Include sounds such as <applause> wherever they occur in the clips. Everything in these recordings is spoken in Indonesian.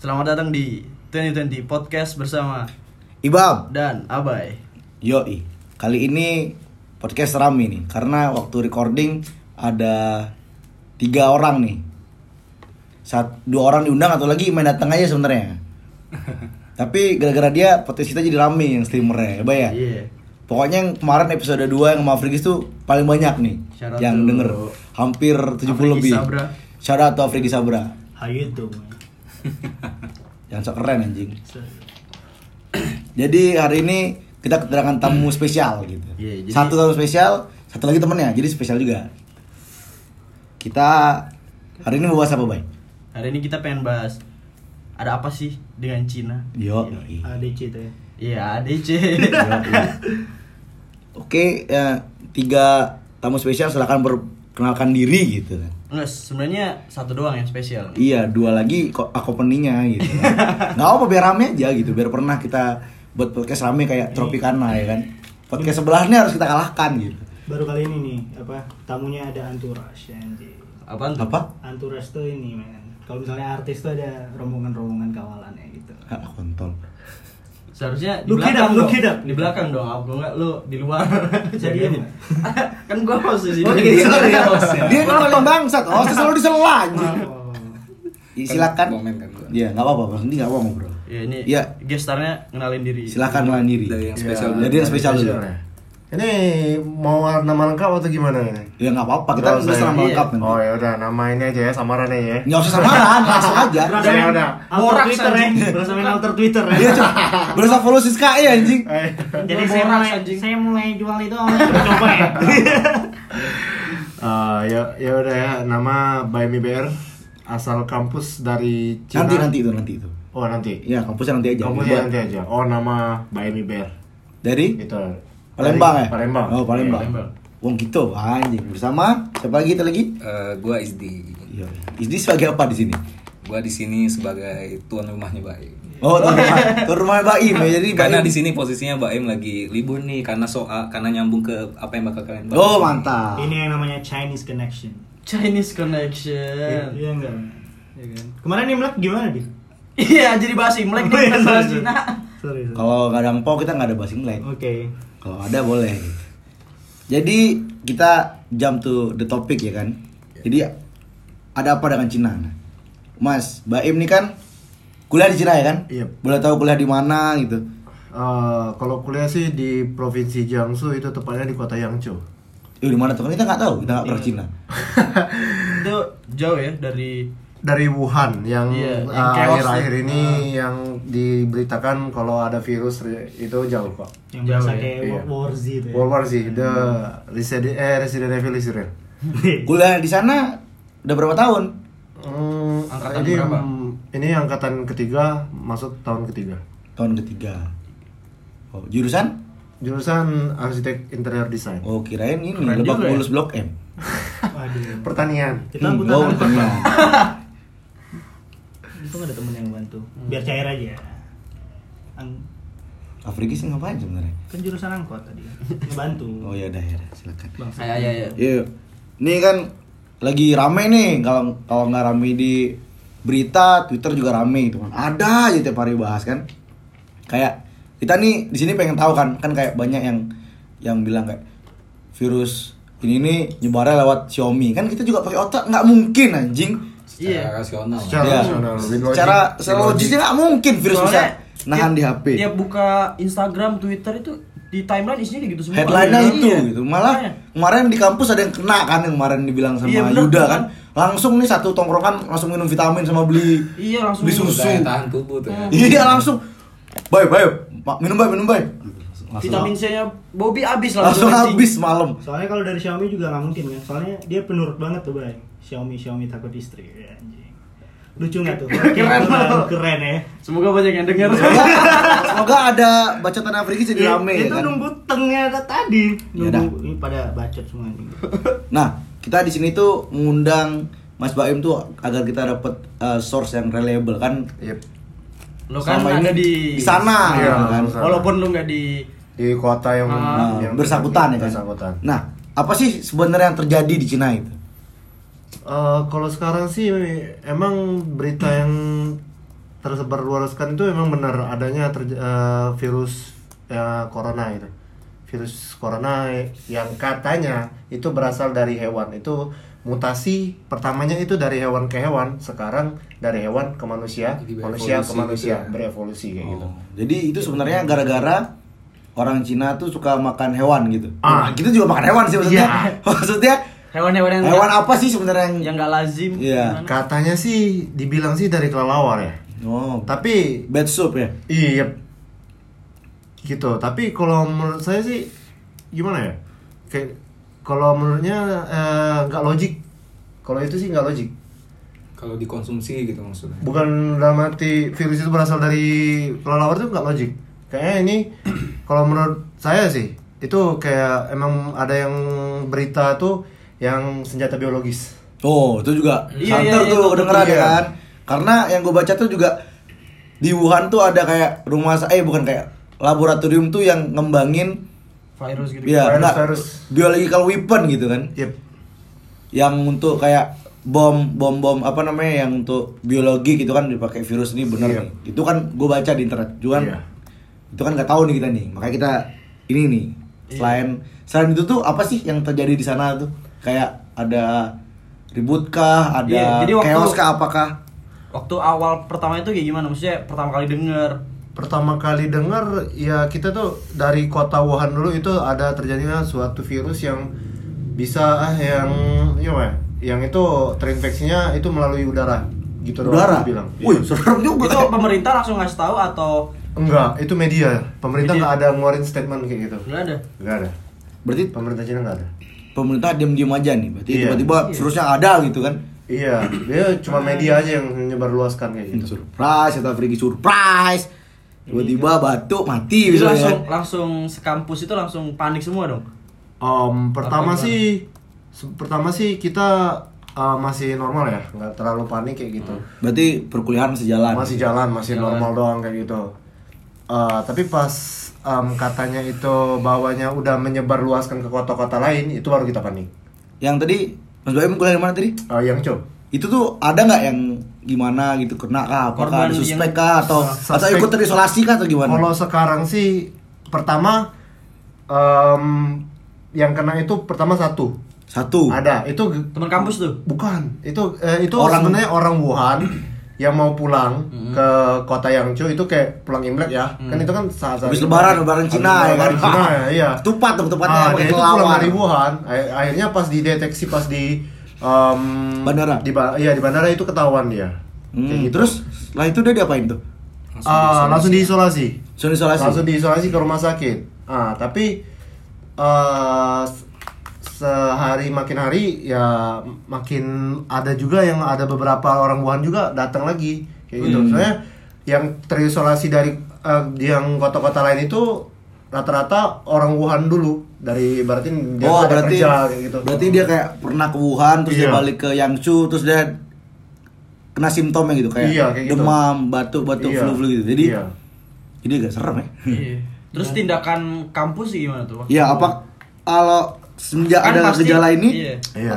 Selamat datang di 2020 Podcast bersama Ibab, dan Abai. yoi. Kali ini podcast rame nih, karena waktu recording ada tiga orang nih. Saat dua orang diundang atau lagi main datang aja sebenarnya. <laughs> Tapi gara-gara dia podcast kita jadi rame yang streamernya, ya, Bay ya. Iya. Pokoknya yang kemarin episode 2 yang sama Afrigis tuh paling banyak nih Shout out yang to denger. Hampir 70 Afrigis lebih. Sabra. Shout out to Afrigis Sabra. Hayat dong. Yang sok keren anjing. Jadi hari ini kita kedatangan tamu spesial gitu. Hmm. Iya, jadi- Satu tamu spesial, satu lagi temennya, jadi spesial juga. Kita hari ini mau bahas apa, Bay? Hari ini kita pengen bahas ada apa sih dengan Cina? Yo. ADC tuh ya. Iya, ADC. Oke, eh, tiga tamu spesial silakan perkenalkan diri gitu. Enggak, sebenarnya satu doang yang spesial. Iya, dua lagi kok accompany-nya <laughs> gitu. Gak apa biar rame aja gitu, biar pernah kita buat podcast rame Iya. kayak Tropicana ya kan. Podcast sebelahnya harus kita kalahkan gitu. Baru kali ini nih apa tamunya ada Anturas ya anjing. Apaan tuh? Apa? Anturas tuh ini men. Kalau misalnya artis tuh ada rombongan-rombongan kawalannya gitu. Ah, kontol. Seharusnya di Look it belakang up, look dong. it up. Di belakang dong, Abang enggak lu di luar. Jadi Jadi apa? <laughs> kan gua host di sini. Oh, jadi sorry ya, host Iya. ya. Dia ini paling bangsat, oh selalu disela anjing. Oh, Ya, silakan. Momen kan gua. Iya, nggak apa-apa, Bang. Ini nggak apa-apa, Bro. Ya ini Iya. gestarnya ngenalin diri. Silakan lah diri. Dari yang Iya. spesial dulu. Jadi yang spesial dulu. ya? Ini mau nama lengkap atau gimana ini? Ya nggak apa-apa, kita Nggak usah udah ya? sama Iya. lengkap nanti. Oh ya udah nama ini aja ya samarannya ya. Nggak usah samaran, langsung aja. Berasa Ya main <laughs> udah. alter Borak, Twitter ya. anjing. Berasa main alter <laughs> Twitter ya. Iya, cuma berasa follow Siska ya anjing. Eh, Jadi saya Borak, mulai anjing. saya mulai jual itu coba ya. ah, ya ya udah ya nama By Me Bear asal kampus dari Cina. Nanti nanti itu nanti itu. Oh nanti. Ya, kampusnya nanti aja. Kampusnya nanti aja. Oh nama By Me Bear Dari gitu. Palembang ya? Palembang. Iya. Oh, Palembang. Palembang. Wong gitu anjing. Bersama siapa lagi kita lagi? Eh, gua Isdi. Iya. Ini sebagai apa di sini? Gua di sini sebagai tuan rumahnya Baim. Oh, tuan rumah, tuan rumah Baim ya. Jadi Karena Baim- di sini posisinya Baim lagi libur nih karena soal karena nyambung ke apa yang bakal kalian bahas. Oh, mantap. Ini yang namanya Chinese connection. Chinese Connection. Iya enggak? Iya kan? Kemarin Imlek gimana, Di? Iya, jadi bahas Imlek Oh, iya, nih, bahas sorry, Cina. Sorry, sorry. Kalau kadang po kita nggak ada basing lain. Oke. Kalau ada boleh. Jadi kita jump to the topic ya kan. Jadi ada apa dengan Cina? Nah, Mas, Baim nih kan kuliah di Cina ya kan? Iya. Boleh tahu kuliah di mana gitu? Eh, kalau kuliah sih di provinsi Jiangsu itu tepatnya di kota Yangzhou. Eh, di mana tuh? Kan kita nggak tahu, kita nggak pernah ke Cina. Itu jauh ya dari dari Wuhan yang Iya, eh, yang chaos akhir-akhir tuh. ini yang diberitakan kalau ada virus re- itu jauh kok. Yang Jauh biasa ya? kayak Iya. World War Z itu. ya. World War Z, Hmm. the Resident, eh, Resident Evil is real. Kuliah di sana udah berapa tahun? Hmm, Angkatan ini, berapa? mm, ini angkatan ketiga, masuk tahun ketiga. Tahun ketiga. Oh, jurusan? Jurusan arsitek interior design. Oh, kirain ini Keren juga Lebak ya. Bulus Blok M. <laughs> Waduh. Pertanian. Kita Hmm, angkutan oh, angkot. pertanian. Untung ada temen yang bantu. Biar cair aja. Ang Afrikis ngapain sebenarnya? kan jurusan angkot tadi. Ngebantu. Oh ya udah ya, udah, silakan. Bang, Saya ya ya. Iya. Ini kan lagi rame nih kalau kalau nggak rame di berita, Twitter juga rame itu kan. Ada aja tiap hari bahas kan. Kayak kita nih di sini pengen tahu kan, kan kayak banyak yang yang bilang kayak virus ini nih nyebarnya lewat Xiaomi. Kan kita juga pakai otak nggak mungkin anjing. Secara Iya. rasional. Secara Iya. rasional, with logic. Secara secara With logisnya nggak mungkin virus Soalnya bisa nahan tiap- di HP. Tiap buka Instagram, Twitter itu di timeline isinya kayak gitu semua. Headline-nya Iya. itu gitu. Malah Makanya. kemarin di kampus ada yang kena kan yang kemarin dibilang sama Iya, bener, Yuda bener. kan. Langsung nih satu tongkrongan langsung minum vitamin sama beli Iya langsung beli susu. Daya tahan tubuh tuh ya. Iya langsung. Baik, baik. Pak, minum baik, minum baik. Vitamin C-nya Bobby habis langsung. langsung habis malam. Soalnya kalau dari Xiaomi juga nggak mungkin kan. Soalnya dia penurut banget tuh, Bang. Xiaomi Xiaomi takut istri. Ya, anjing. Lucu <laughs> nggak tuh? Keren Keren, loh. keren ya. Semoga banyak yang denger. Semoga, Ya, semoga ada bacotan Afrika jadi Iya, rame ya itu kan. nunggu tengnya ada tadi. Ya Nunggu ini pada bacot <laughs> semua nih. Nah, kita di sini tuh mengundang Mas Baim tuh agar kita dapat eh, source yang reliable kan. Yep. Lo kan ada Selama ini di di sana Iya, gitu kan. sana. Walaupun lo nggak di Di kota yang, Ah, Nah, yang bersangkutan ya kan. Bersangkutan. Nah, apa sih sebenarnya yang terjadi di Cina itu? Eh, kalau sekarang sih emang berita yang tersebar luaskan itu memang benar adanya terj- eh, virus eh, corona itu virus corona yang katanya itu berasal dari hewan itu mutasi pertamanya itu dari hewan ke hewan sekarang dari hewan ke manusia Jadi manusia ke berevolusi gitu manusia ya. berevolusi kayak gitu Oh. Jadi itu sebenarnya gara-gara orang Cina tuh suka makan hewan gitu. Ah. Nah, kita juga makan hewan sih maksudnya. Iya. <laughs> maksudnya Hewan-hewan yang hewan apa sih sebenarnya yang yang nggak lazim. Iya. gimana? katanya sih dibilang sih dari kelelawar ya Oh, tapi bad soup ya. Iya. Gitu. Tapi kalau menurut saya sih gimana ya? Kayak kalau menurutnya eh, nggak logik. Kalau itu sih nggak logik. Kalau dikonsumsi gitu maksudnya. Bukan dalam arti virus itu berasal dari kelelawar itu nggak logik. Kayaknya ini <clears throat> kalau menurut saya sih itu kayak emang ada yang berita tuh yang senjata biologis. Oh, itu juga Iya, santer iya, iya, tuh betul, kedengeran ya iya. kan. Karena yang gue baca tuh juga di Wuhan tuh ada kayak rumah sa- eh bukan kayak laboratorium tuh yang ngembangin Virus gitu. ya virus, enggak, virus. biological weapon gitu kan. Yep. Yang untuk kayak bom bom bom apa namanya yang untuk biologi gitu kan dipakai virus ini bener Iya. nih. Itu kan gue baca di internet. Cuman Iya. itu kan nggak tahu nih kita nih. Makanya kita ini nih Iya. selain selain itu tuh apa sih yang terjadi di sana tuh? Kayak ada ribut kah, ada Iya, jadi waktu- chaos kah apakah? Waktu awal pertama itu kayak gimana? Maksudnya pertama kali denger pertama kali dengar ya kita tuh dari kota Wuhan dulu itu ada terjadinya suatu virus yang bisa ah yang ya apa ya, yang itu terinfeksinya itu melalui udara gitu doang Udara. aku bilang Wih, Iya. serem juga. itu pemerintah langsung ngasih tahu atau enggak itu media pemerintah Media. nggak ada ngeluarin statement kayak gitu nggak ada? nggak ada <laughs> Berarti pemerintah Cina nggak ada pemerintah diam-diam aja nih. Berarti Iya. tiba-tiba Iya. virusnya ada gitu kan. iya dia cuma media aja yang menyebarluaskan kayak gitu Surprise atau pergi surprise. Tiba-tiba Iya. batuk Jadi mati bisa Iya, langsung kan. langsung sekampus itu langsung panik semua dong. Om, pertama Apa gimana? sih se- pertama sih kita uh, masih normal ya nggak terlalu panik kayak gitu Berarti perkuliahan sejalan. masih jalan masih Jalan. normal doang kayak gitu Eh, tapi pas em, katanya itu bawahnya udah menyebar luaskan ke kota-kota lain itu baru kita panik Yang tadi Mas Baim kuliah di mana tadi? Eh, yang coba Itu tuh ada nggak yang gimana gitu kena kah? Korban Apakah ada yang- suspek kah atau Suspek. atau ikut terisolasi kah atau gimana? kalau sekarang sih pertama em, yang kena itu pertama satu Satu. ada itu ge- Teman kampus tuh. bukan itu eh, itu Orang- Hmm. sebenarnya orang Wuhan yang mau pulang ke kota Yangzhou itu kayak pulang Imlek ya kan itu kan saat Habis lebaran, lebaran Cina ya kan. Cina ya iya <laughs> Tupat dong Ah, tupatnya dia pakai itu pulang kelawar. dari Wuhan. A- Akhirnya pas dideteksi pas di em, Bandara? Di ba- iya di bandara itu ketahuan dia. Hmm, Kayak gitu. terus setelah itu dia diapain tuh? Ah, langsung diisolasi. Langsung isolasi. Langsung diisolasi ke rumah sakit. Ah, tapi eh, se- sehari makin hari ya makin ada juga yang ada beberapa orang Wuhan juga datang lagi kayak Hmm. gitu. Soalnya yang terisolasi dari eh, yang kota-kota lain itu rata-rata orang Wuhan dulu dari berarti dia oh, ada berarti kerja kayak gitu. berarti dia kayak pernah ke Wuhan terus dia Iya. balik ke Yangsu terus dia kena simptomnya gitu kayak, Iya, kayak gitu. demam, batuk-batuk, Iya. flu-flu gitu. Jadi Iya. jadi agak serem ya. Iya. Terus tindakan kampus sih gimana tuh? Iya, apa kalau semenjak Kan ada pasti- gejala ini Iya. Iya.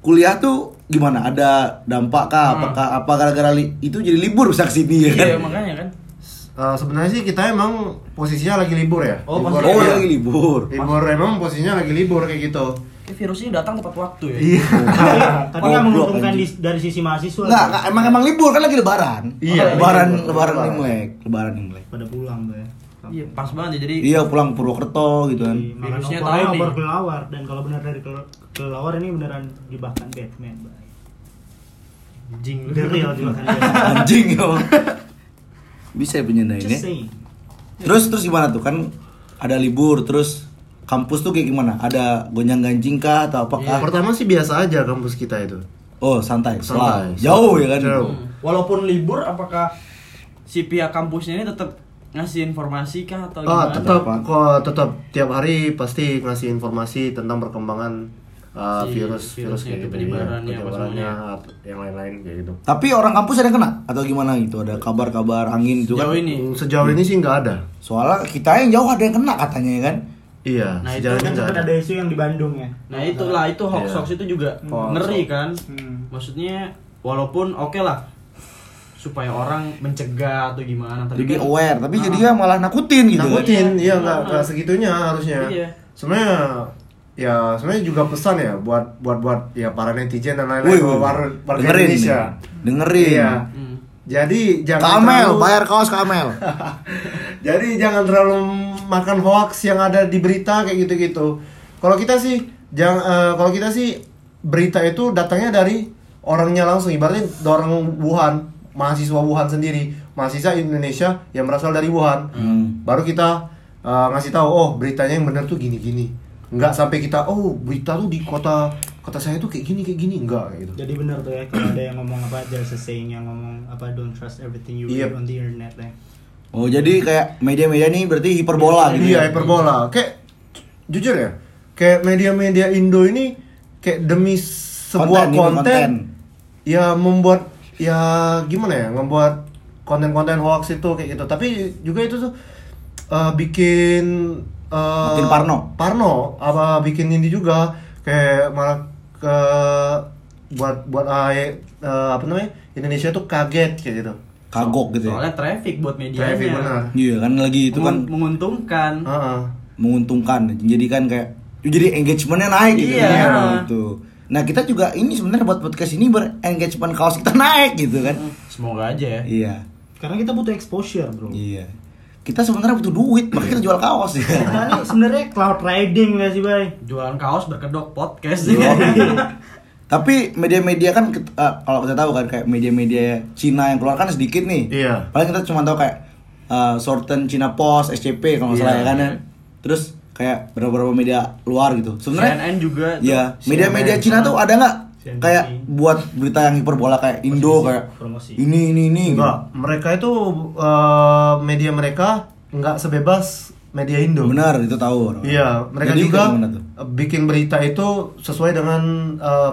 kuliah tuh gimana? Ada dampak kah? Hmm. Apakah apa gara-gara li- itu jadi libur bisa kesini ya kan? Iya, makanya kan. Eh, sebenarnya sih kita emang posisinya lagi libur ya. Oh, libur, maksudnya- Oh, iya. dia lagi libur. libur emang posisinya lagi libur kayak gitu. Ini virusnya datang tepat waktu ya. Iya. Tapi nggak Goblok, menguntungkan anjing. di- dari sisi mahasiswa. Enggak, enggak, emang emang libur kan lagi lebaran. Iya, lebaran libur, lebaran lebaran. Imlek, lebaran Imlek. Pada pulang tuh ya. Iya, pas banget ya. Jadi Iya, pulang Purwokerto gitu kan. Iya. Jadi, Makan Virusnya tahu opornya nih. opor kelelawar dan kalau benar dari kel- kelelawar ini beneran jebakan Batman, Bay. jing The real jebakan Batman. Anjing <laughs> yo. Bisa ya penyendahin ya? Just saying. Terus terus gimana tuh kan ada libur terus kampus tuh kayak gimana? Ada gonjang-ganjing kah atau Nah, Iya. apakah? pertama sih biasa aja kampus kita itu. Oh, santai. Santai. Santai. Jauh ya kan? Jauh. Walaupun libur apakah si pihak kampusnya ini tetap ngasih informasi kah Ah, atau Oh, gimana? tetap Apa? kok tetap tiap hari pasti ngasih informasi tentang perkembangan uh, Si virus virusnya itu, virus kayak gitu. penyebarannya, iya, apa penyebarannya, semuanya. at- yang lain-lain kayak gitu. Tapi orang kampus ada yang kena atau gimana gitu? Ada kabar-kabar angin gitu kan? Jauh ini. Sejauh ini sih nggak ada. Soalnya kita yang jauh ada yang kena katanya ya kan? Iya, Nah, itu sejauh ini Kan nggak sempat ada. ada isu yang di Bandung ya. Nah itulah itu hoax Iya. hoax itu juga Hoax. ngeri kan. Hmm. Maksudnya walaupun oke lah supaya orang mencegah atau gimana tadi lebih kan- aware Ah. tapi jadinya malah nakutin gitu kan. nakutin Iya. iya nggak nggak segitunya harusnya Iya. sebenarnya ya sebenarnya juga pesan ya buat buat buat ya para netizen dan Wih, lain-lain wih. war- warga dengerin Indonesia nih. dengerin Iya. Hmm. jadi jangan Kamel terlalu, bayar kaos <laughs> Kamel <laughs> jadi jangan terlalu makan hoax yang ada di berita kayak gitu-gitu kalau kita sih jangan eh, kalau kita sih berita itu datangnya dari orangnya langsung ibaratnya orang Wuhan mahasiswa Wuhan sendiri mahasiswa Indonesia yang berasal dari Wuhan Hmm. baru kita uh, ngasih tahu oh beritanya yang benar tuh gini gini nggak sampai kita oh berita tuh di kota kota saya tuh kayak gini kayak gini enggak kayak gitu Jadi benar tuh ya kalau ada yang ngomong apa there's a saying yang ngomong apa don't trust everything you Iya. read on the internet ya. oh jadi kayak media-media nih berarti hiperbola gitu ya? iya hiperbola kayak jujur ya kayak media-media Indo ini kayak demi Konten, sebuah ini konten, konten. ya membuat ya gimana ya membuat konten-konten hoax itu kayak gitu tapi juga itu tuh eh, bikin eh, Bikin parno. parno apa bikin ini juga kayak malah ke buat buat eh, eh, apa namanya Indonesia tuh kaget kayak gitu kagok gitu ya soalnya traffic buat medianya Traffic benar iya kan lagi itu kan Mengun- menguntungkan Heeh. menguntungkan jadi kan kayak jadi engagementnya naik gitu Iya. kan, gitu. nah kita juga ini sebenarnya buat podcast ini berengagement kaos kita <laughs> naik gitu kan semoga aja ya iya Karena kita butuh exposure, Bro. iya kita sebenarnya butuh duit makanya kita jual <laughs> kaos ya Kita Iya. nih Nah, sebenarnya cloud riding gak sih, Bay? jualan kaos berkedok podcast Iya. <laughs> tapi media-media kan ket- eh, kalau kita tahu kan kayak media-media Cina yang keluar kan sedikit nih Iya. paling kita cuma tahu kayak eh, Sorten Cina Post SCP kalau nggak salah Iya. ya kan ya. terus kayak beberapa media luar gitu sebenarnya CNN juga tuh. Iya, media-media Cina tuh ada nggak kayak buat berita yang hiperbola kayak Indo kayak Promosi. ini ini ini gitu. Enggak, mereka itu eh, media mereka nggak sebebas media Indo. Benar itu tahu. orang. Iya, mereka Jadi juga kayak gimana tuh? bikin berita itu sesuai dengan eh,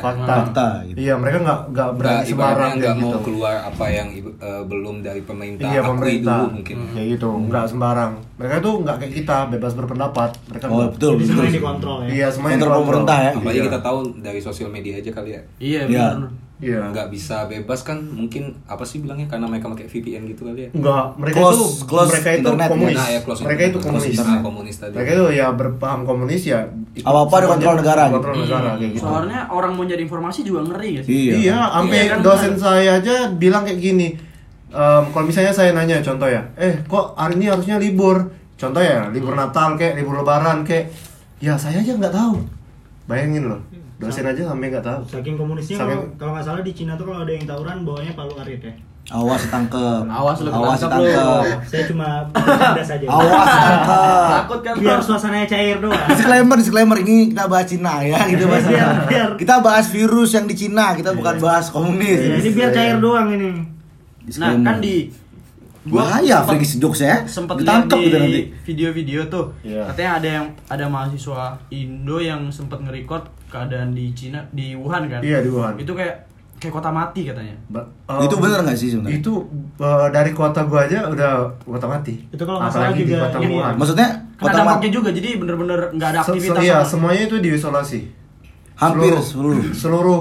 Fakta. fakta. Fakta, gitu. Iya, mereka nggak nggak berani Nggak, ibaratnya sembarang nggak kayak mau gitu. keluar apa yang ibu- eh, belum dari pemerintah Iya, akui pemerintah. dulu mungkin Kayak gitu, nggak sembarang. Mereka itu nggak kayak kita bebas berpendapat. Mereka Hmm. Oh, nggak- betul. Jadi betul. semuanya dikontrol ya. Iya, semuanya Kontrol dikontrol. pemerintah ya. apalagi Iya. kita tahu dari sosial media aja kali ya iya Iya. bener. Iya. nggak bisa bebas kan mungkin apa sih bilangnya karena mereka pakai VPN gitu kali ya Nggak, mereka Close- itu close mereka itu internet, komunis. Nah, ya, close mereka itu internet, close komunis. internet, komunis tadi. Mereka itu ya berpaham komunis ya. ikut Apa-apa semuanya dikontrol negara, gitu. Kontrol negara kayak gitu. soalnya orang mau nyari informasi juga ngeri ya sih Iya. Iya, sampai Iya, kan? dosen saya aja bilang kayak gini. Em, kalau misalnya saya nanya contoh ya, eh kok hari ini harusnya libur? Contoh ya, libur Natal kayak libur Lebaran kayak, ya saya aja nggak tahu. Bayangin loh, dosen aja sampai nggak tahu. Saking komunisnya kalau- Saking- kalau nggak salah di Cina tuh kalau ada yang tawuran bawanya palu arit ya. Awas ditangkep. Awas lu Awas ketangkep lu. ditangkep. Saya <laughs> cuma bercanda saja. Oh. Awas ditangkep. <laughs> takut kan Iya. Biar tuh. suasananya cair doang. Disclaimer, disclaimer ini kita bahas Cina ya, gitu Iya, bahas. Biar, biar. Kita bahas virus yang di Cina, kita bukan bahas komunis. <laughs> Iya, ini biar cair doang ini. nah Disclaimer. kan di bahaya sempet- freaky jokes ya. sempet lihat ditangkep di gitu nanti. video-video tuh Iya. katanya ada yang ada mahasiswa Indo yang sempet nge-record keadaan di Cina di Wuhan kan Iya, di Wuhan. itu kayak kayak kota mati katanya Ba- em, Itu bener nggak sih sebenarnya? Itu eh, dari kota gua aja udah kota mati. Itu kalau nggak salah Apalagi di juga kota ini ya. Wuhan. Maksudnya karena kota dampaknya juga jadi bener-bener nggak ada Se- se- aktivitas iya, sama- semuanya itu diisolasi. Hampir seluruh seluruh. <clears throat> seluruh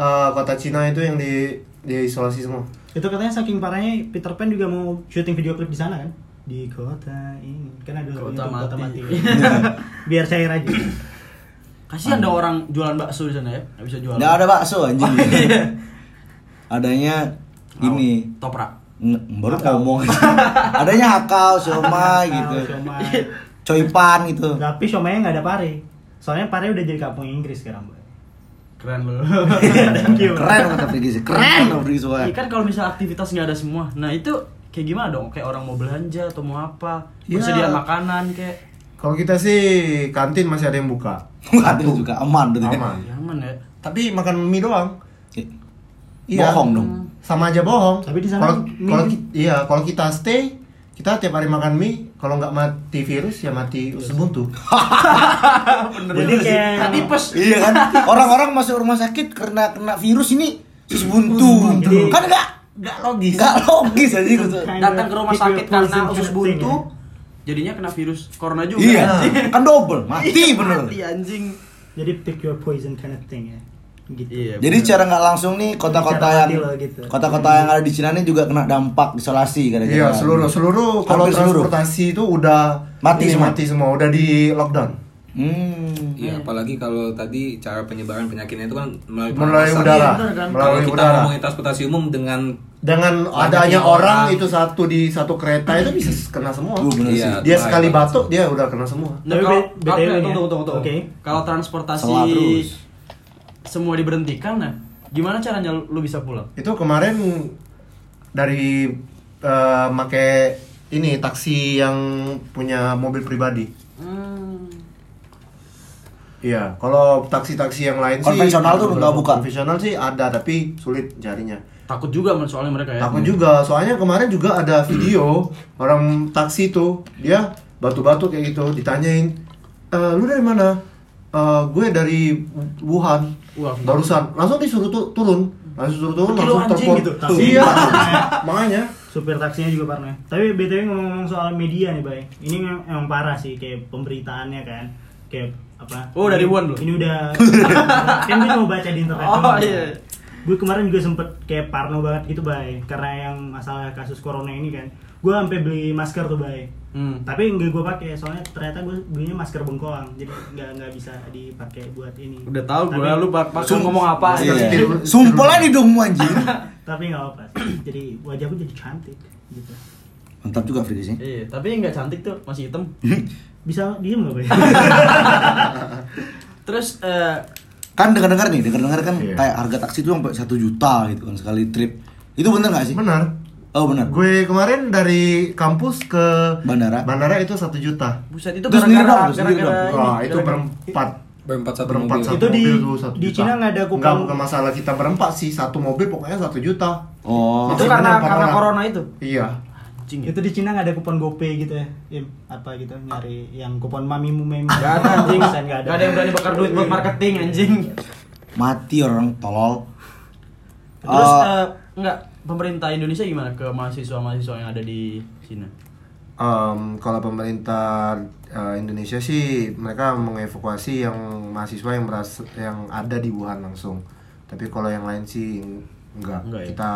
eh, kota Cina itu yang di diisolasi semua. Itu katanya saking parahnya Peter Pan juga mau syuting video klip di sana kan? Di kota ini kan ada Kota lagunya tuh, kota mati. mati. <laughs> biar cair aja. kasihan ada orang jualan bakso di sana ya nggak bisa jualan Oh, iya. <laughs> Nggak ada bakso anjing. <laughs> Adanya ini Oh, toprak Nge- baru ngomong adanya hakau siomay gitu Tahu, siomay. coipan gitu Tapi siomay nggak ada pare. Soalnya pare udah jadi kampung Inggris sekarang, <laughs> Mbak. keren <laughs> lu Thank you. keren kata Frigi sih keren kata Frigi suka Iya kan kalau misalnya aktivitas nggak ada semua nah itu kayak gimana dong kayak orang mau belanja atau mau apa Iya. persediaan makanan kayak Kalau kita sih kantin masih ada yang buka. Waduh juga aman tuh Aman. nyaman ya Tapi makan mie doang. Iya. bohong dong Sama aja bohong. Tapi di sana kalau mie- kalau ki- iya, kalau kita stay, kita tiap hari makan mie, kalau nggak mati virus ya mati Iya. usus buntu. Jadi kayak tadi pes iya kan <laughs> orang-orang masuk rumah sakit karena kena virus ini terus buntu Jadi- kan nggak nggak logis nggak logis aja gitu datang ke rumah Video sakit call karena sih, usus chatting buntu jadinya kena virus corona juga <laughs> iya kan double mati Iya, bener mati anjing Jadi pick your poison kind of thing ya. gitu Iya. Jadi bener. secara nggak langsung nih kota-kota Bicara yang hati lo gitu. kota-kota yang ada di Cina ini juga kena dampak isolasi Iya gara-gara. seluruh seluruh kalau Hampir seluruh. transportasi itu udah Mati ini, semua. mati semua udah di lockdown. Hmm. Iya, apalagi kalau tadi cara penyebaran penyakitnya itu kan melalui Melalui pernapasan. udara. Iya, benar kan? Kalau Melalui kita udara. ngomongin transportasi umum dengan Dengan Banyak adanya yang orang, orang. itu satu di satu kereta itu bisa kena semua. Uh, bener Iya. sih. Dia Bahaya sekali banget batuk dia udah kena semua. Nah, Tapi kalau be- beda kalau- ini ya. tunggu, tunggu, tunggu. Oke. Kalau transportasi Selah terus. semua diberhentikan, nah gimana caranya lu bisa pulang? Itu kemarin dari eh, make ini taksi yang punya mobil pribadi. Iya, kalau taksi-taksi yang lain Konvensional sih tuh nggak buka? Konvensional sih ada tapi sulit jarinya. Takut juga men- soalnya mereka ya. Takut juga, soalnya kemarin juga ada video orang taksi tuh dia batu-batu kayak gitu, ditanyain, e, lu dari mana? "E, gue dari Wuhan, Wah. barusan, langsung disuruh tu- turun, langsung disuruh turun, Kilo langsung anjing telepon. gitu, Tuh, taksi. iya, <laughs> makanya. supir taksinya juga parno ya. tapi btw ngomong-ngomong soal media nih bay ini memang, emang parah sih kayak pemberitaannya kan kayak apa Oh, dari Wuhan lu? ini udah <laughs> kan gue cuma baca di internet Oh, doang. iya. gue kemarin juga sempet kayak parno banget gitu bay karena yang masalah kasus corona ini kan gue sampai beli masker tuh bay Hmm. tapi nggak gue pakai soalnya ternyata gue belinya masker bengkoang jadi nggak nggak bisa dipakai buat ini Udah tahu gue Tapi- lu pak pak Sum- ngomong apa? Iya. Iya. Sensitif. Sumpolan hidungmu anjing. <laughs> tapi nggak apa jadi wajah gue jadi cantik gitu Mantap juga Freddy sih. Iya, tapi nggak cantik tuh, masih hitam. bisa diem nggak bay <laughs> Terus eh, Kan dengar-dengar nih, dengar-dengar kan Iya. kayak harga taksi tuh sampai 1 juta gitu kan sekali trip. Itu bener gak sih? Benar. Oh bener. Gue kemarin dari kampus ke Bandara. bandara itu satu juta. buset itu Terus sendiri dong, gara-gara terus sendiri gara-gara dong. ini, Wah, itu gara-gara- berempat. berempat satu berempat mobil. satu Itu di- mobil tuh satu di juta. Cina nggak ada kupon. Nggak, bukan masalah kita berempat sih satu mobil pokoknya satu juta Oh. Itu Masih karena bener, karena corona. corona itu. iya Anjing. itu di Cina nggak ada kupon GoPay gitu ya Im, apa gitu nyari yang kupon mamimu memi Gak <laughs> ada anjing, Pesan nggak ada gak ada yang berani bakar duit buat marketing anjing. Mati orang tolol. Terus Eh, eh, nggak pemerintah Indonesia gimana ke mahasiswa-mahasiswa yang ada di Cina? Em, kalau pemerintah eh, Indonesia sih mereka mengevakuasi yang mahasiswa yang beras yang ada di Wuhan langsung tapi kalau yang lain sih enggak, Nggak ya? kita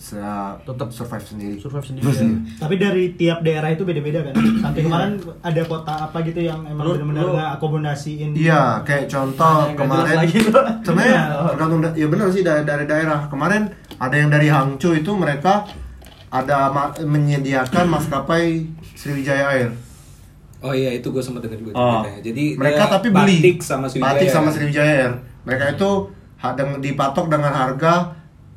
se- Tetap survive sendiri Survive sendiri. ya. tapi dari tiap daerah itu beda-beda kan sampai kemarin ada kota apa gitu yang Iya. Lu- emang benar-benar lu- ngakomodasiin Iya, kayak Nah, contoh yang kemarin nggak jelas lagi tuh. <laughs> sebenarnya <laughs> Iya. tergantung da- ya benar sih dari dari daerah. Kemarin ada yang dari Hangzhou itu mereka ada ma- menyediakan maskapai Sriwijaya Air. Oh iya, itu gue sempat dengar juga ceritanya. Jadi Oh. Ah. mereka dia tapi beli batik sama Sriwijaya. Batik sama Sriwijaya Air. Mereka itu ha- deng- dipatok dengan harga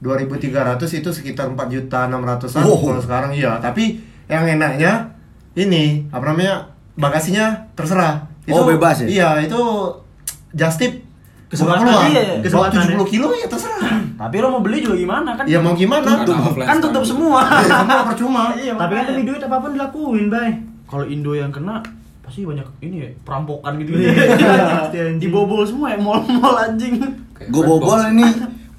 2.300 itu sekitar 4 juta 600-an Wow. kalau sekarang iya. Tapi yang enaknya ini apa namanya? bagasinya terserah. Oh, bebas ya? Iya, itu just tip Kesempatan, iya, iya. Kesempatan, ya. Kesempatan 70 kilo ya terserah. Tapi lo mau beli juga gimana kan? ya mau gimana? Tutup. Tutup. Kan tutup semua. Semua percuma. tapi kan demi duit apapun dilakuin bay <laughs> kalau Indo yang kena pasti banyak ini ya, perampokan gitu <laughs> Pasti, anjing. dibobol semua ya mall-mall anjing Kayak Gue Red Box. bobol ini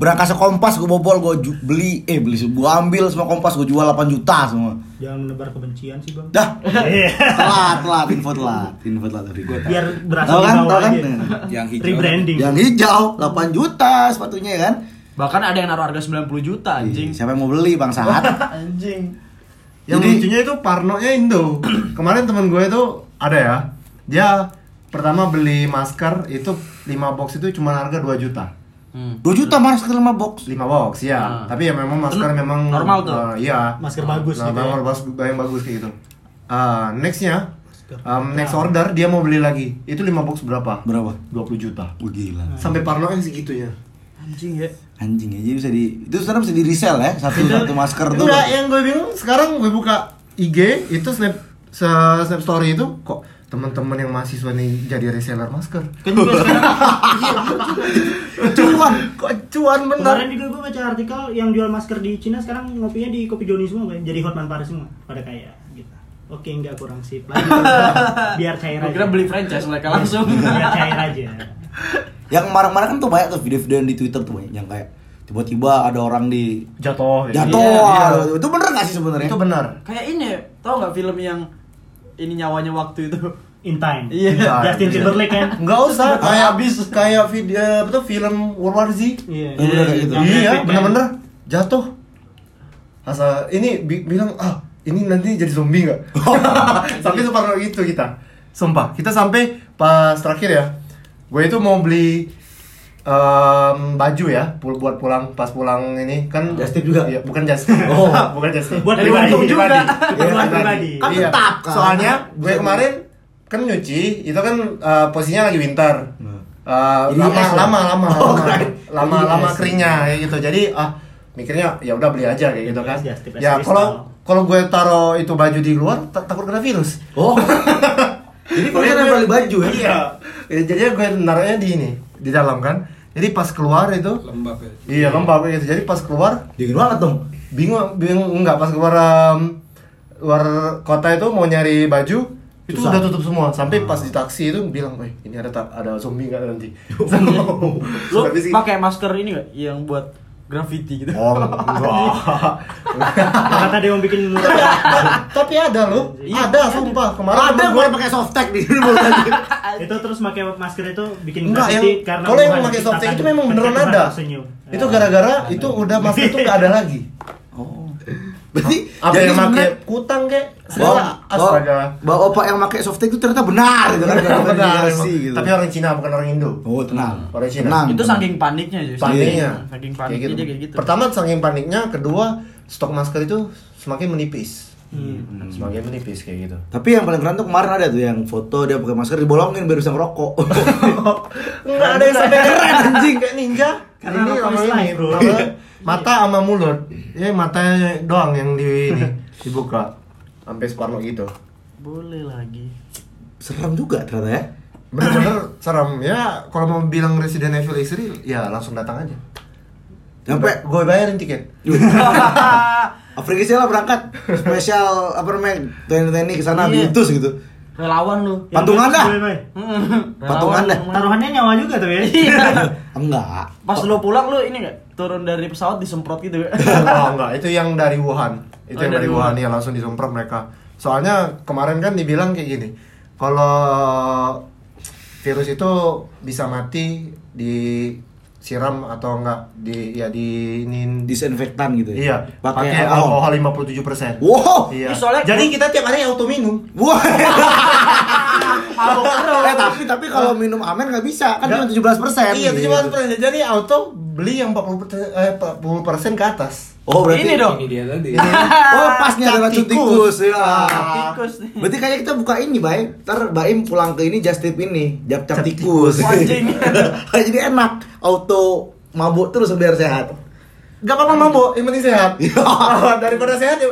berangkas sekompas gue bobol gue ju- beli eh beli gue ambil semua kompas gue jual 8 juta semua jangan menebar kebencian sih bang dah Iya. telat telat info telat info telat tapi gua. biar berasa Tahu di kan, bawah tahu kan? aja Yang hijau. rebranding yang hijau 8 juta sepatunya ya kan bahkan ada yang naruh harga 90 juta Iya, anjing siapa yang mau beli bang <laughs> saat anjing Yang Jadi- lucunya itu parnonya Indo. Kemarin teman gue itu ada ya. Dia pertama beli masker itu 5 box itu cuma harga 2 juta. hmm. 2 juta masker lima box 5 box Ah. ya. Tapi ya memang masker Itu memang normal tuh? eh, iya. Masker bagus nah, gitu memang ya. bas- yang bagus kayak gitu. Ah, nextnya Masker. em, next order dia mau beli lagi. Itu 5 box berapa? berapa 20 juta. Wah gila Sampai parnonya segitunya. anjing ya anjing ya jadi bisa di itu sekarang bisa di resell ya satu satu masker tuh Enggak, ya. yang gue bingung sekarang gue buka IG itu snap se- snap story itu kok teman-teman yang mahasiswa nih jadi reseller masker. Iya. kan juga <laughs> sekarang cuan, kok cuan kemarin bener. juga gue baca artikel yang jual masker di Cina sekarang ngopinya di kopi Joni semua bay jadi hotman paris semua pada kaya gitu oke nggak kurang sip lagi biar cair gue aja kira beli franchise mereka langsung biar <laughs> cair aja yang kemarin-kemarin kan tuh banyak tuh video-video yang di Twitter tuh banyak yang kayak tiba-tiba ada orang di Jatuh. ya. jatuh Iya, aduh. itu bener gak sih sebenarnya Itu benar. kayak ini ya, tau nggak film yang ini nyawanya waktu itu in time. Iya. Justin Timberlake kan. Nggak usah, kayak habis kayak video betul film World War Z. Iya. Iya, bener kayak gitu. Yang kan? Iya, Batman. bener-bener jatuh. Asa ini bi- bilang ah ini nanti jadi zombie nggak? <laughs> sampai separno itu kita. Sumpah, kita sampai pas terakhir ya. Gue itu mau beli em, baju ya pul- buat pulang pas pulang ini kan Just tip juga? Iya, bukan just tip. Oh. <laughs> bukan just tip. Buat Jadi pribadi. untung Pribadi. Iya, Keperluan pribadi. Kan Iya. tetap, kan? Soalnya gue Bisa. kemarin kan nyuci itu kan eh, posisinya lagi winter Nah. Eh, Jadi lama, es ya? lama lama Oh, lama keren. lama Jadi es. lama ya. keringnya kayak gitu jadi ah mikirnya ya udah beli aja kayak gitu kan Yes, yes, tipis ya tipis kalau tau. kalau gue taro itu baju di luar ta- takut kena virus <laughs> Oh. Jadi kalian Jadi gue- nempel di baju ya? iya Ya, jadi gue naruhnya di ini di dalam kan jadi pas keluar itu lembab ya iya lembab gitu jadi pas keluar Dingin banget dong. bingung bingung nggak pas keluar em, luar kota itu mau nyari baju itu Susah. udah tutup semua sampai pas di taksi itu bilang, "Weh, ini ada ta- ada zombie nggak nanti?" <laughs> Lu Sampai sih- pakai masker ini gak? Yang buat graffiti gitu <laughs> <laughs> Oh, enggak. Kata dia mau <laughs> bikin mural. Tapi ada loh. Iya. ada sumpah kemarin Ada temen gue pakai softtek di mulut <laughs> aja. itu terus pakai masker itu bikin Enggak, graffiti yang- kalau yang Tuhan pakai softtek ciptakan itu memang beneran pencipta ada. tersenyum. itu Ya. gara-gara itu udah masa itu nggak ada lagi. Oh. Berarti Apa yang sebenarnya- pakai kutang kayak bahwa, segala bahwa, astaga. Iya, bahwa opa yang pakai softtek itu ternyata benar gitu kan ternyata Benar, diinisiasi, emang. gitu. Tapi orang Cina bukan orang Indo. oh tenang Orang Cina. tenang Itu tenang. saking paniknya aja paniknya Iya, Saking paniknya dia kayak gitu Iya. pertama saking paniknya kedua stok masker itu semakin menipis Iya, Hmm. semakin menipis kayak gitu tapi yang paling keren tuh kemarin ada tuh yang foto dia pakai masker dibolongin biar bisa <laughs> ngerokok nggak ada yang <laughs> sampai keren anjing kayak ninja Karena rokok orang is life, bro. Apa? mata sama mulut ya matanya doang yang di ini dibuka sampai separuh gitu Boleh <laughs> lagi serem juga ternyata ya bener-bener serem ya kalau mau bilang Resident Evil istri ya langsung datang aja sampai gue bayarin tiket Afrika sih lah berangkat spesial apa namanya teknik-teknik ke sana Iya. diutus <laughs> gitu Relawan lu Yang Patungan dah. boleh, boleh. Patungan dah. <laughs> Taruhannya nyawa juga tuh ya. Iya, enggak Iya. Pas lu pulang lu ini gak? Turun dari pesawat disemprot gitu gak? <laughs> oh <laughs> enggak itu yang dari Wuhan Oh, itu yang dari dari Wuhan Wuhan. ya langsung disemprot mereka soalnya kemarin kan dibilang kayak gini kalau virus itu bisa mati di siram atau enggak di ya di ini disinfektan gitu ya iya pakai pakai alkohol alkohol 57% wow Ih, iya soalnya- jadi kita tiap hari auto minum <laughs> Wah. eh, tapi tapi kalau minum amen nggak bisa kan cuma 17 persen. iya 70% jadi auto beli yang 40% eh, 40% ke atas Oh berarti Ini dong ini dia tadi Nah. <laughs> Oh pasnya ada racun tikus ya. Tikus nih Berarti kayaknya kita buka ini baik. Ntar Baim pulang ke ini just tip ini jap cap tikus. Oh, Anjing. <laughs> Jadi enak auto mabuk terus biar sehat. Gak apa-apa mabuk, yang penting sehat. <laughs> daripada sehat ya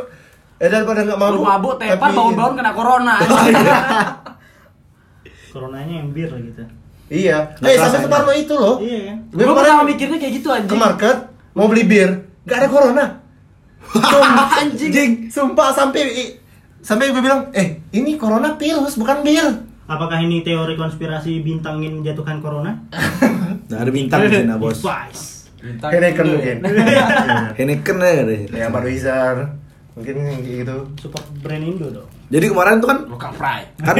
eh, daripada nggak mabuk. Lu mabuk, tepat, tapi- bangun-bangun kena <laughs> corona Iya. Coronanya yang bir lah gitu. Iya. Nggak eh, kerasa ya? sampai separno itu loh. Iya kan? Gue Gue kemarin pernah mikirnya kayak gitu ke anjing market mau beli bir, gak ada <laughs> corona. Sumpah, anjing. Sumpah sampai i- sampai gue bilang, "Eh, ini corona virus bukan bir." Apakah ini teori konspirasi bintangin menjatuhkan corona? Nah ada bintang di sana bos. Spice. Bintang Heineken Iya. dulu. <laughs> mungkin. Iya. Heineken ya ada. ya, Budweiser. Mungkin gitu. Support brand Indo dong. Jadi kemarin tuh kan Lokal pride <laughs> kan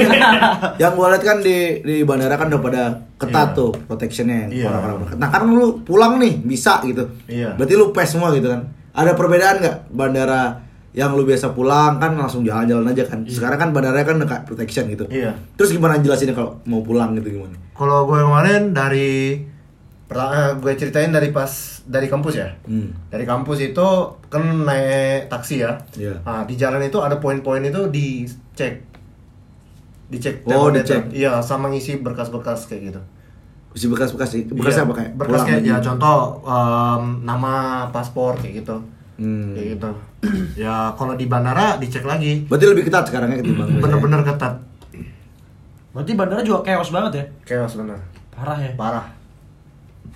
yang gue lihat kan di di bandara kan udah pada ketat Iya. tuh protectionnya Iya. orang-orang berketat. nah kan lu pulang nih bisa gitu Iya. berarti lu pes semua gitu kan ada perbedaan nggak bandara yang lu biasa pulang kan langsung jalan-jalan aja kan sekarang kan bandaranya kan dekat protection gitu Iya. terus gimana jelasinnya kalau mau pulang gitu gimana Kalau gue kemarin dari pertama gue ceritain dari pas dari kampus ya. hmm. dari kampus itu kan naik taksi ya Iya. Nah, di jalan itu ada poin-poin itu dicek dicek Oh, termometer. dicek. iya sama ngisi berkas-berkas kayak gitu si bekas-bekas sih bekasnya Iya, apa kayak berkas pulang kayak gitu? ya contoh em, nama paspor kayak gitu Hmm. kayak gitu ya kalau di bandara dicek lagi berarti lebih ketat sekarangnya ketimbang biasanya. bener-bener ketat Berarti bandara juga chaos banget ya chaos bener Parah ya parah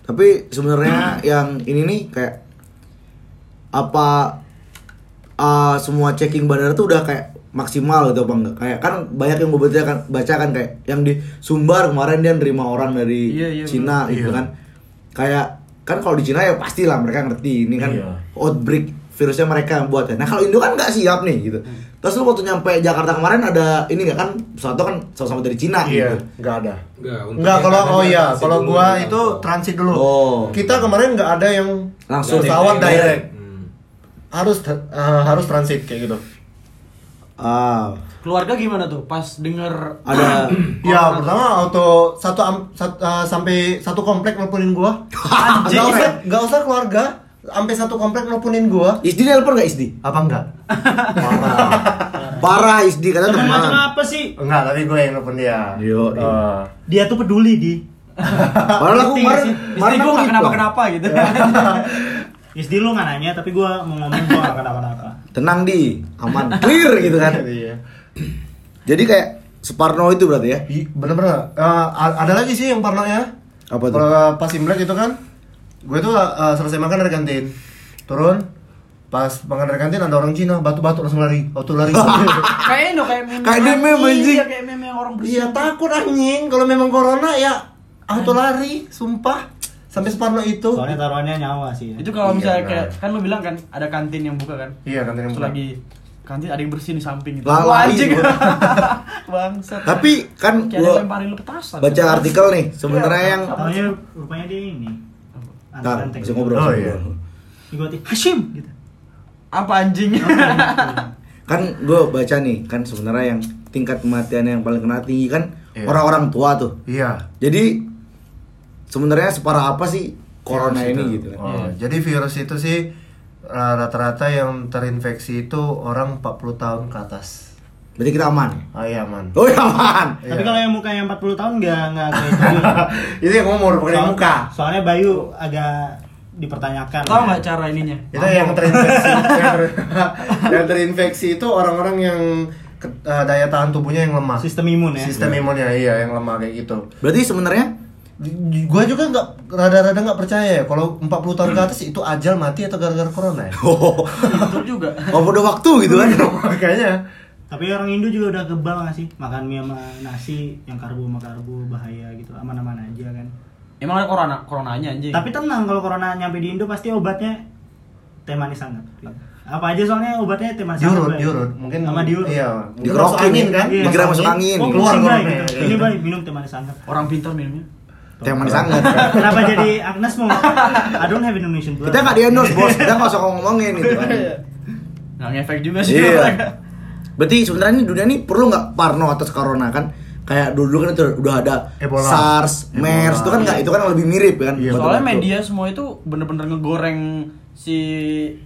Tapi sebenarnya yang ini nih kayak apa uh, semua checking bandara tuh udah kayak maksimal gitu apa enggak? Kayak kan banyak yang gue baca kan, baca kan kayak yang di Sumbar kemarin dia nerima orang dari Iya, iya, Cina bener. gitu Iya. kan. Kayak kan kalau di Cina ya pastilah mereka ngerti ini kan Iya. Hmm. outbreak virusnya mereka yang buat ya. Nah kalau Indo kan nggak siap nih gitu. Terus lu waktu nyampe Jakarta kemarin ada ini nggak kan pesawat tuh kan sama-sama dari Cina Iya, gitu. nggak ada. Enggak, untuk Nggak yang kalau ada oh transit iya, kalau dulu, gua gitu. itu transit dulu. Oh. Kita kemarin nggak ada yang Langsung. pesawat Direct. direct. Hmm. Harus eh, harus transit kayak gitu. Ah, Keluarga gimana tuh pas denger <clears throat> ada Ya pertama auto satu, am- sat- eh, sampai satu komplek nelponin gua. Anjing. Gak usah nggak usah keluarga, sampai satu komplek nelponin gua. Isdi nelpon nggak Isdi? Apa enggak? Parah Isdi kata Temen macam teman. apa sih? Enggak, tapi gue yang nelpon dia. Yo, iya. Eh, Dia tuh peduli di. Padahal aku Ngerti nggak kemarin sih? kemarin Istri gua aku nggak gitu. kenapa-kenapa gitu <laughs> Isdi lu nggak nanya, tapi gua mau ngomong gua nggak kenapa-napa. Tenang di, aman, clear gitu kan. <laughs> Iya. Jadi kayak Separno itu berarti ya. I- Bener-bener. Eh, a- ada lagi sih yang parno ya. Apa tuh? Kalau pas Imlek itu kan, gue tuh eh, selesai makan dari kantin, turun. Pas makan dari kantin ada orang Cina batu-batu langsung lari, auto <laughs> lari. Kayak itu kayak meme Kayak di meme, Iya, anjing. Kayak meme yang orang bersih Iya takut anjing. Kalau memang corona ya auto lari, sumpah. Sampai separno itu. Soalnya taruhannya nyawa sih. Ya. Itu kalau Iya, misalnya nah. kayak kan lu bilang kan ada kantin yang buka kan. Iya kantin yang Terus buka. lagi kantin ada yang bersih di samping gitu. Wah, Lah, lari anjing. gua. <laughs> Bangsat. Tapi kan kayak ada yang Iya, gua lemparin lu petasan. baca artikel nih sebenarnya yang Soalnya rupanya dia ini. Ntar, Antek-antek. gitu. bisa ngobrol. Oh, bisa iya. ngobrol. Digotik, Hashim gitu. Apa anjing? Kan gue baca nih, kan sebenarnya yang tingkat kematian yang paling kena tinggi kan Iya. orang-orang tua tuh. Iya. Jadi sebenarnya separah apa sih corona Virus ini itu. gitu kan? Oh, Jadi virus itu sih eh, rata-rata yang terinfeksi itu orang 40 tahun ke atas. Berarti kita aman. Ah iya man. Oh ya aman. Iya. Tapi kalau yang mukanya 40 tahun nggak nggak kayak gitu. <laughs> itu yang umur bukan yang Soal- muka. Soalnya Bayu agak dipertanyakan. ya. Tahu nggak cara ininya? Itu yang terinfeksi. <laughs> yang, ter- yang terinfeksi itu orang-orang yang ke- eh, daya tahan tubuhnya yang lemah. Sistem imun ya. Sistem imunnya iya yang lemah kayak gitu. Berarti sebenarnya <laughs> Gue juga nggak rada-rada nggak percaya ya kalau 40 tahun ke atas itu ajal mati atau gara-gara corona <laughs> ya. oh, Betul juga. oh udah waktu gitu kan? <laughs> Makanya Tapi orang Indo juga udah kebal nggak sih makan mie sama nasi yang karbo sama karbo bahaya gitu aman-aman aja kan. Emang ada corona coronanya anjing. Tapi tenang kalau corona nyampe di Indo pasti obatnya teh manis hangat. Apa aja soalnya obatnya teh manis diurut Bay. diurut mungkin sama diurut. Iya, mungkin Dikerokin, masuk angin kan? Iya. dikira masuk angin. Oh, keluar Keluar keluar, gitu. iya. Ini Bay minum teh manis hangat. orang pintar minumnya. Yang manis sangat. Kenapa jadi Agnes mau? I don't have Indonesian blood. Kita nggak di endorse bos, kita nggak usah ngomongin gitu kan. Iya. Nggak ngefek juga sih. Iya. Berarti sebenarnya ini dunia ini perlu nggak Parno atas Corona kan? Kayak dulu kan itu udah ada Ebola. SARS, Ebola. MERS itu kan nggak itu kan lebih mirip kan? Iya, Soalnya Betul-betul. media semua itu bener-bener ngegoreng si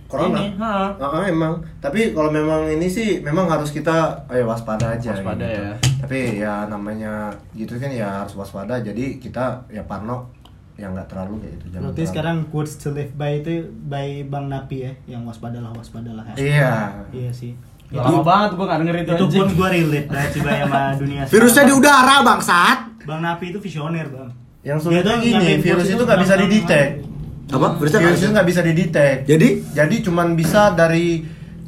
corona. ini. Ha. Ah, ah, emang. Tapi kalau memang ini sih memang harus kita ayo waspada aja. gitu. Waspada ya. Tapi ya namanya gitu kan ya harus waspada. Jadi kita ya parno yang nggak terlalu kayak gitu. jangan Berarti terlalu. sekarang quotes to live by itu by Bang Napi ya, yang waspadalah waspadalah. hashtag. Iya. Iya sih. Udah lama banget gua nggak denger itu Itu anjing. pun gua relate banget sih Bay, <laughs> sama dunia. Virusnya di sekarang. udara bangsat. Bang Napi itu visioner, Bang. Yang Dia sulit tuh gini, nyampein virus quotes itu nggak bisa bang-bang didetek. Apa? Virusnya nggak Virus itu bisa. nggak bisa didetek. Jadi Jadi cuman bisa dari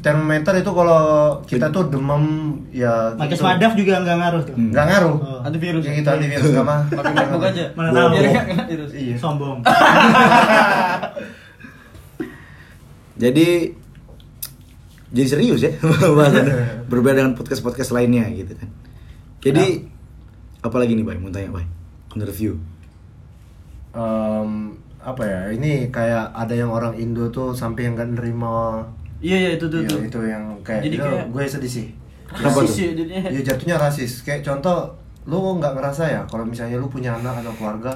termometer itu kalau kita tuh demam ya. banget. Pakai gitu. swadaf juga nggak ngaruh tuh. Hmm. Nggak ngaruh. Oh. Antivirus. Yang kita antivirus nggak mah. Pakai MacBook aja. Mana tahu. Biar nggak kena virus. Iya. Sombong. jadi jadi serius ya <laughs> bahasannya. berbeda dengan podcast podcast lainnya gitu kan. Jadi apalagi nih Bay, mau tanya Bay, interview. Em, apa ya ini kayak ada yang orang Indo tuh sampai yang gak nerima Iya iya itu tuh. Iya, tuh. itu yang kayak, Jadi itu kayak- gue sedih sih Kenapa Rasis tuh? ya jadinya. ya jatuhnya rasis kayak contoh lu nggak ngerasa ya kalau misalnya lu punya anak atau keluarga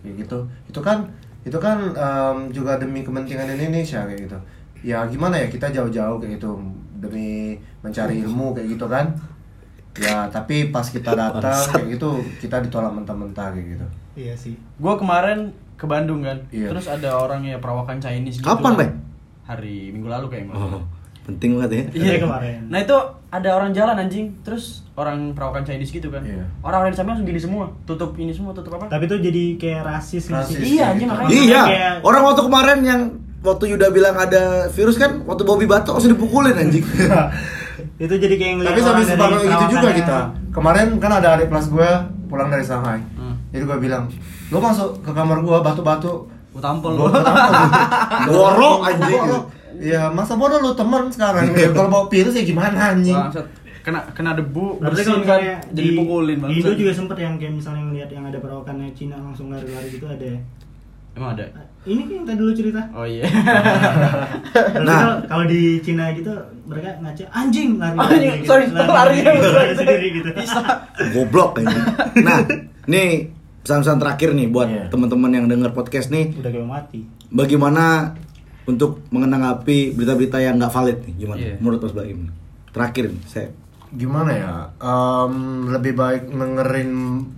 kayak gitu itu kan itu kan em, juga demi kepentingan Indonesia kayak gitu ya gimana ya kita jauh-jauh kayak gitu demi mencari ilmu kayak gitu kan ya tapi pas kita datang kayak gitu kita ditolak mentah-mentah kayak gitu Iya sih. Gua kemarin ke Bandung kan. Iya. Terus ada orang ya perawakan Chinese gitu. Kapan, kan. Bay? Hari Minggu lalu kayaknya. Oh, penting banget ya. Iya Tapi kemarin. Nah itu ada orang jalan anjing, terus orang perawakan Chinese gitu kan. Iya. Orang-orang di samping langsung gini semua, tutup ini semua, tutup apa? Tapi tuh jadi kayak rasis nggak Rasis. sih? Iya anjing makanya. Iya, kayak- orang waktu kemarin yang waktu Yuda bilang ada virus kan, waktu Bobby batuk langsung dipukulin anjing. Itu jadi kayak ngeliat Tapi sampai orang dari separno gitu juga perawakannya. kita. Kemarin kan ada adik kelas gue pulang dari Shanghai. Hmm. Jadi gue bilang, lo masuk ke kamar gue batu-batu. Gua tampol Gua- gua. gua tampol. Ah, Borok, anjing. Iya. Borok. Ya masa bodoh lu temen sekarang ya, Kalau bawa virus ya gimana anjing Bangsat. Kena kena debu, Berarti bersin kalau kan misalnya jadi di- pukulin di Indo bangsat. juga sempet yang kayak misalnya ngeliat yang ada perawakannya Cina langsung lari-lari gitu ada ya. Emang ada. Ini kan yang tadi lu cerita. Oh iya. Berarti Nah. kalau- kalau di Cina gitu mereka ngaca anjing lari. Anjing, Oh, iya, sorry, lari. gitu, lari sendiri gitu. Goblok ini. Nah, nih pesan-pesan terakhir nih buat Iya. teman-teman yang denger podcast nih, Udah kayak mati. bagaimana untuk mengenangapi berita-berita yang nggak valid nih gimana? Iya. Menurut Mas Baim. Terakhir nih, saya Gimana ya Em, Lebih baik dengerin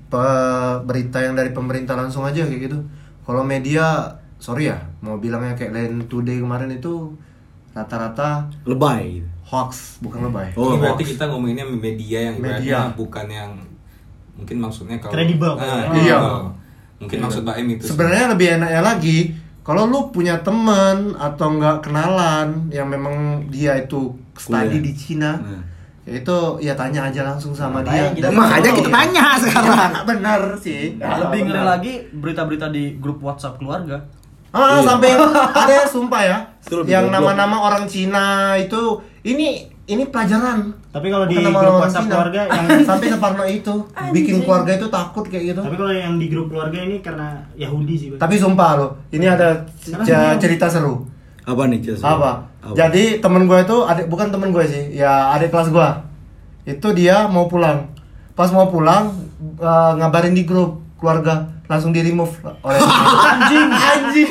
pe- berita yang dari pemerintah langsung aja kayak gitu Kalau media Sorry ya Mau bilangnya kayak Land Today kemarin itu Rata-rata lebay. hoax Bukan lebay Oh, Ini berarti hoax. kita ngomonginnya media yang Media. ibaratnya bukan yang mungkin maksudnya kalau Kredibel. Nah, Iya. iya. Mungkin maksud Mbak Em itu. Gitu sih. Sebenarnya lebih enaknya lagi kalau lu punya temen atau nggak kenalan yang memang dia itu study Kuliah. di Cina, Nah. ya itu ya tanya aja langsung sama Makanya dia. kita- Makanya ya. Iya. kita <laughs> <laughs> tanya sekarang. Iya, benar sih. Nah, Lebih ngeri benar. lagi berita-berita di grup WhatsApp <laughs> keluarga. Ah, Iya. sampai ada yang sumpah ya, Itu lebih yang goblok. nama-nama orang Cina itu ini ini pelajaran. Tapi kalau di Bukan nama grup orang WhatsApp Cina. keluarga yang <laughs> sampai separno itu bikin keluarga itu takut kayak gitu. Tapi kalau yang di grup keluarga ini karena Yahudi sih. Bang. Tapi sumpah lo, ini ada c- Karena c- dia- cerita seru. Apa nih Jas? apa? Jadi temen gue itu adik bukan temen gue sih, ya adik kelas gue. Itu dia mau pulang. Pas mau pulang eh, ngabarin di grup keluarga langsung di remove <laughs> oleh anjing anjing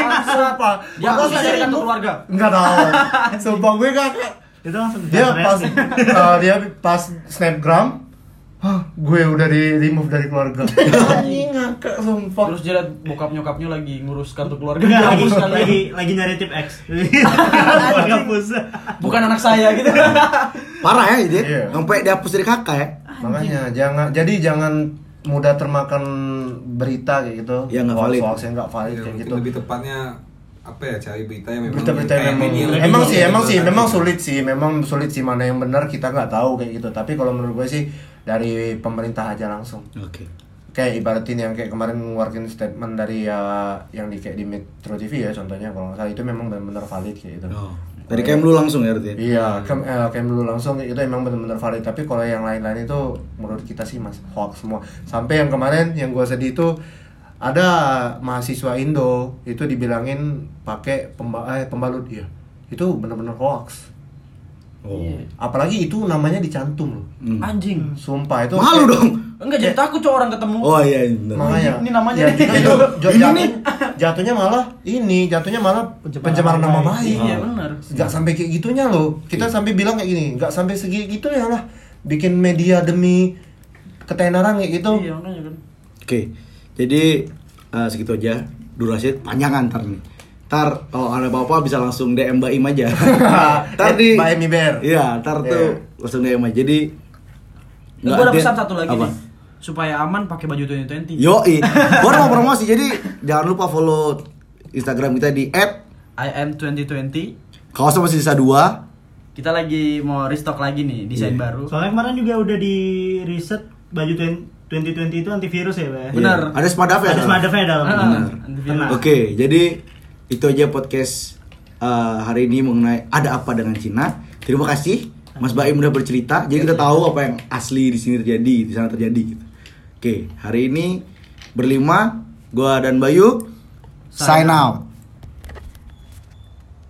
apa Dia kan harus dari satu keluarga. nggak tahu sumpah gue kakak Itu langsung dia disamperin. pas eh, dia pas snapgram Hah, gue udah di remove dari keluarga anjing ngakak sumpah Terus jerat bokap nyokapnya lagi ngurus kartu keluarga Enggak, lagi, dihapus kan lagi, lagi. lagi nyari tip <laughs> X Keluarga Pusa. Bukan anak saya gitu. Parah ya jadi Iya. sampai dihapus dari kakak ya. Makanya jangan jadi jangan mudah termakan berita kayak gitu. Iya, nggak valid. Hoax-hoax yang nggak valid Ya, kayak mungkin gitu. lebih tepatnya apa ya cari berita yang memang Berita-berita kayak yang memang media emang, gitu. sih, Kayak emang gitu. sih, memang sulit sih, memang sulit sih mana yang benar kita nggak tahu kayak gitu. Tapi kalau menurut gue sih dari pemerintah aja langsung. Oke. Kayak ibaratin yang kayak kemarin ngeluarin statement dari ya yang di kayak di Metro TV ya contohnya kalau nggak salah itu memang benar-benar valid kayak gitu. Oh. Dari kayak lu langsung ya berarti. ya? Iya, kem, eh, kayak dulu langsung itu emang benar-benar valid. Tapi kalau yang lain-lain itu menurut kita sih mas hoax semua. Sampai yang kemarin yang gua sedih itu ada mahasiswa Indo itu dibilangin pakai pemba eh, pembalut ya. Itu benar-benar hoax. Oh. Iya. Apalagi itu namanya dicantum loh. Iya. Hmm. Anjing. Sumpah itu. Malu dong. Enggak jadi takut cowok orang ketemu. Oh iya bener. Makanya. Ini namanya Ya, nih. gitu, itu Ini jatuh- nih. jatuhnya malah ini, jatuhnya malah Pencemaran pencemaran nama nama baik. baik. Iya benar. nggak sampai kayak gitunya loh kita sampai bilang kayak gini nggak sampai segi gitu ya lah bikin media demi ketenaran kayak gitu Iya makanya kan. Oke, jadi eh, segitu aja. Durasi panjang antar nih. Ntar kalau ada apa-apa bisa langsung DM Mbak Im aja. ntar di Eh, Mbak Im Iber. Iya, ntar tuh langsung DM aja. Jadi Gue nggak ada ada- pesan satu lagi apa? nih. Supaya aman pakai baju 2020. Yoi, gua mau promosi. Jadi jangan lupa follow Instagram kita di I am 2020. @kaosnya masih sisa dua. Kita lagi mau restock lagi nih desain baru. Soalnya kemarin juga udah di riset baju twen- 2020 itu antivirus ya, Bang. Benar. Iya. Ada Spadaf ya. Ada Dal? smadafnya dalam. Heeh, Benar. antivirus. Tenang. Oke, jadi itu aja podcast eh, hari ini mengenai ada apa dengan Cina. Terima kasih Mas Baim udah bercerita. Jadi kita tahu apa yang asli di sini terjadi, di sana terjadi gitu. Oke, hari ini berlima gua dan Bayu sign out.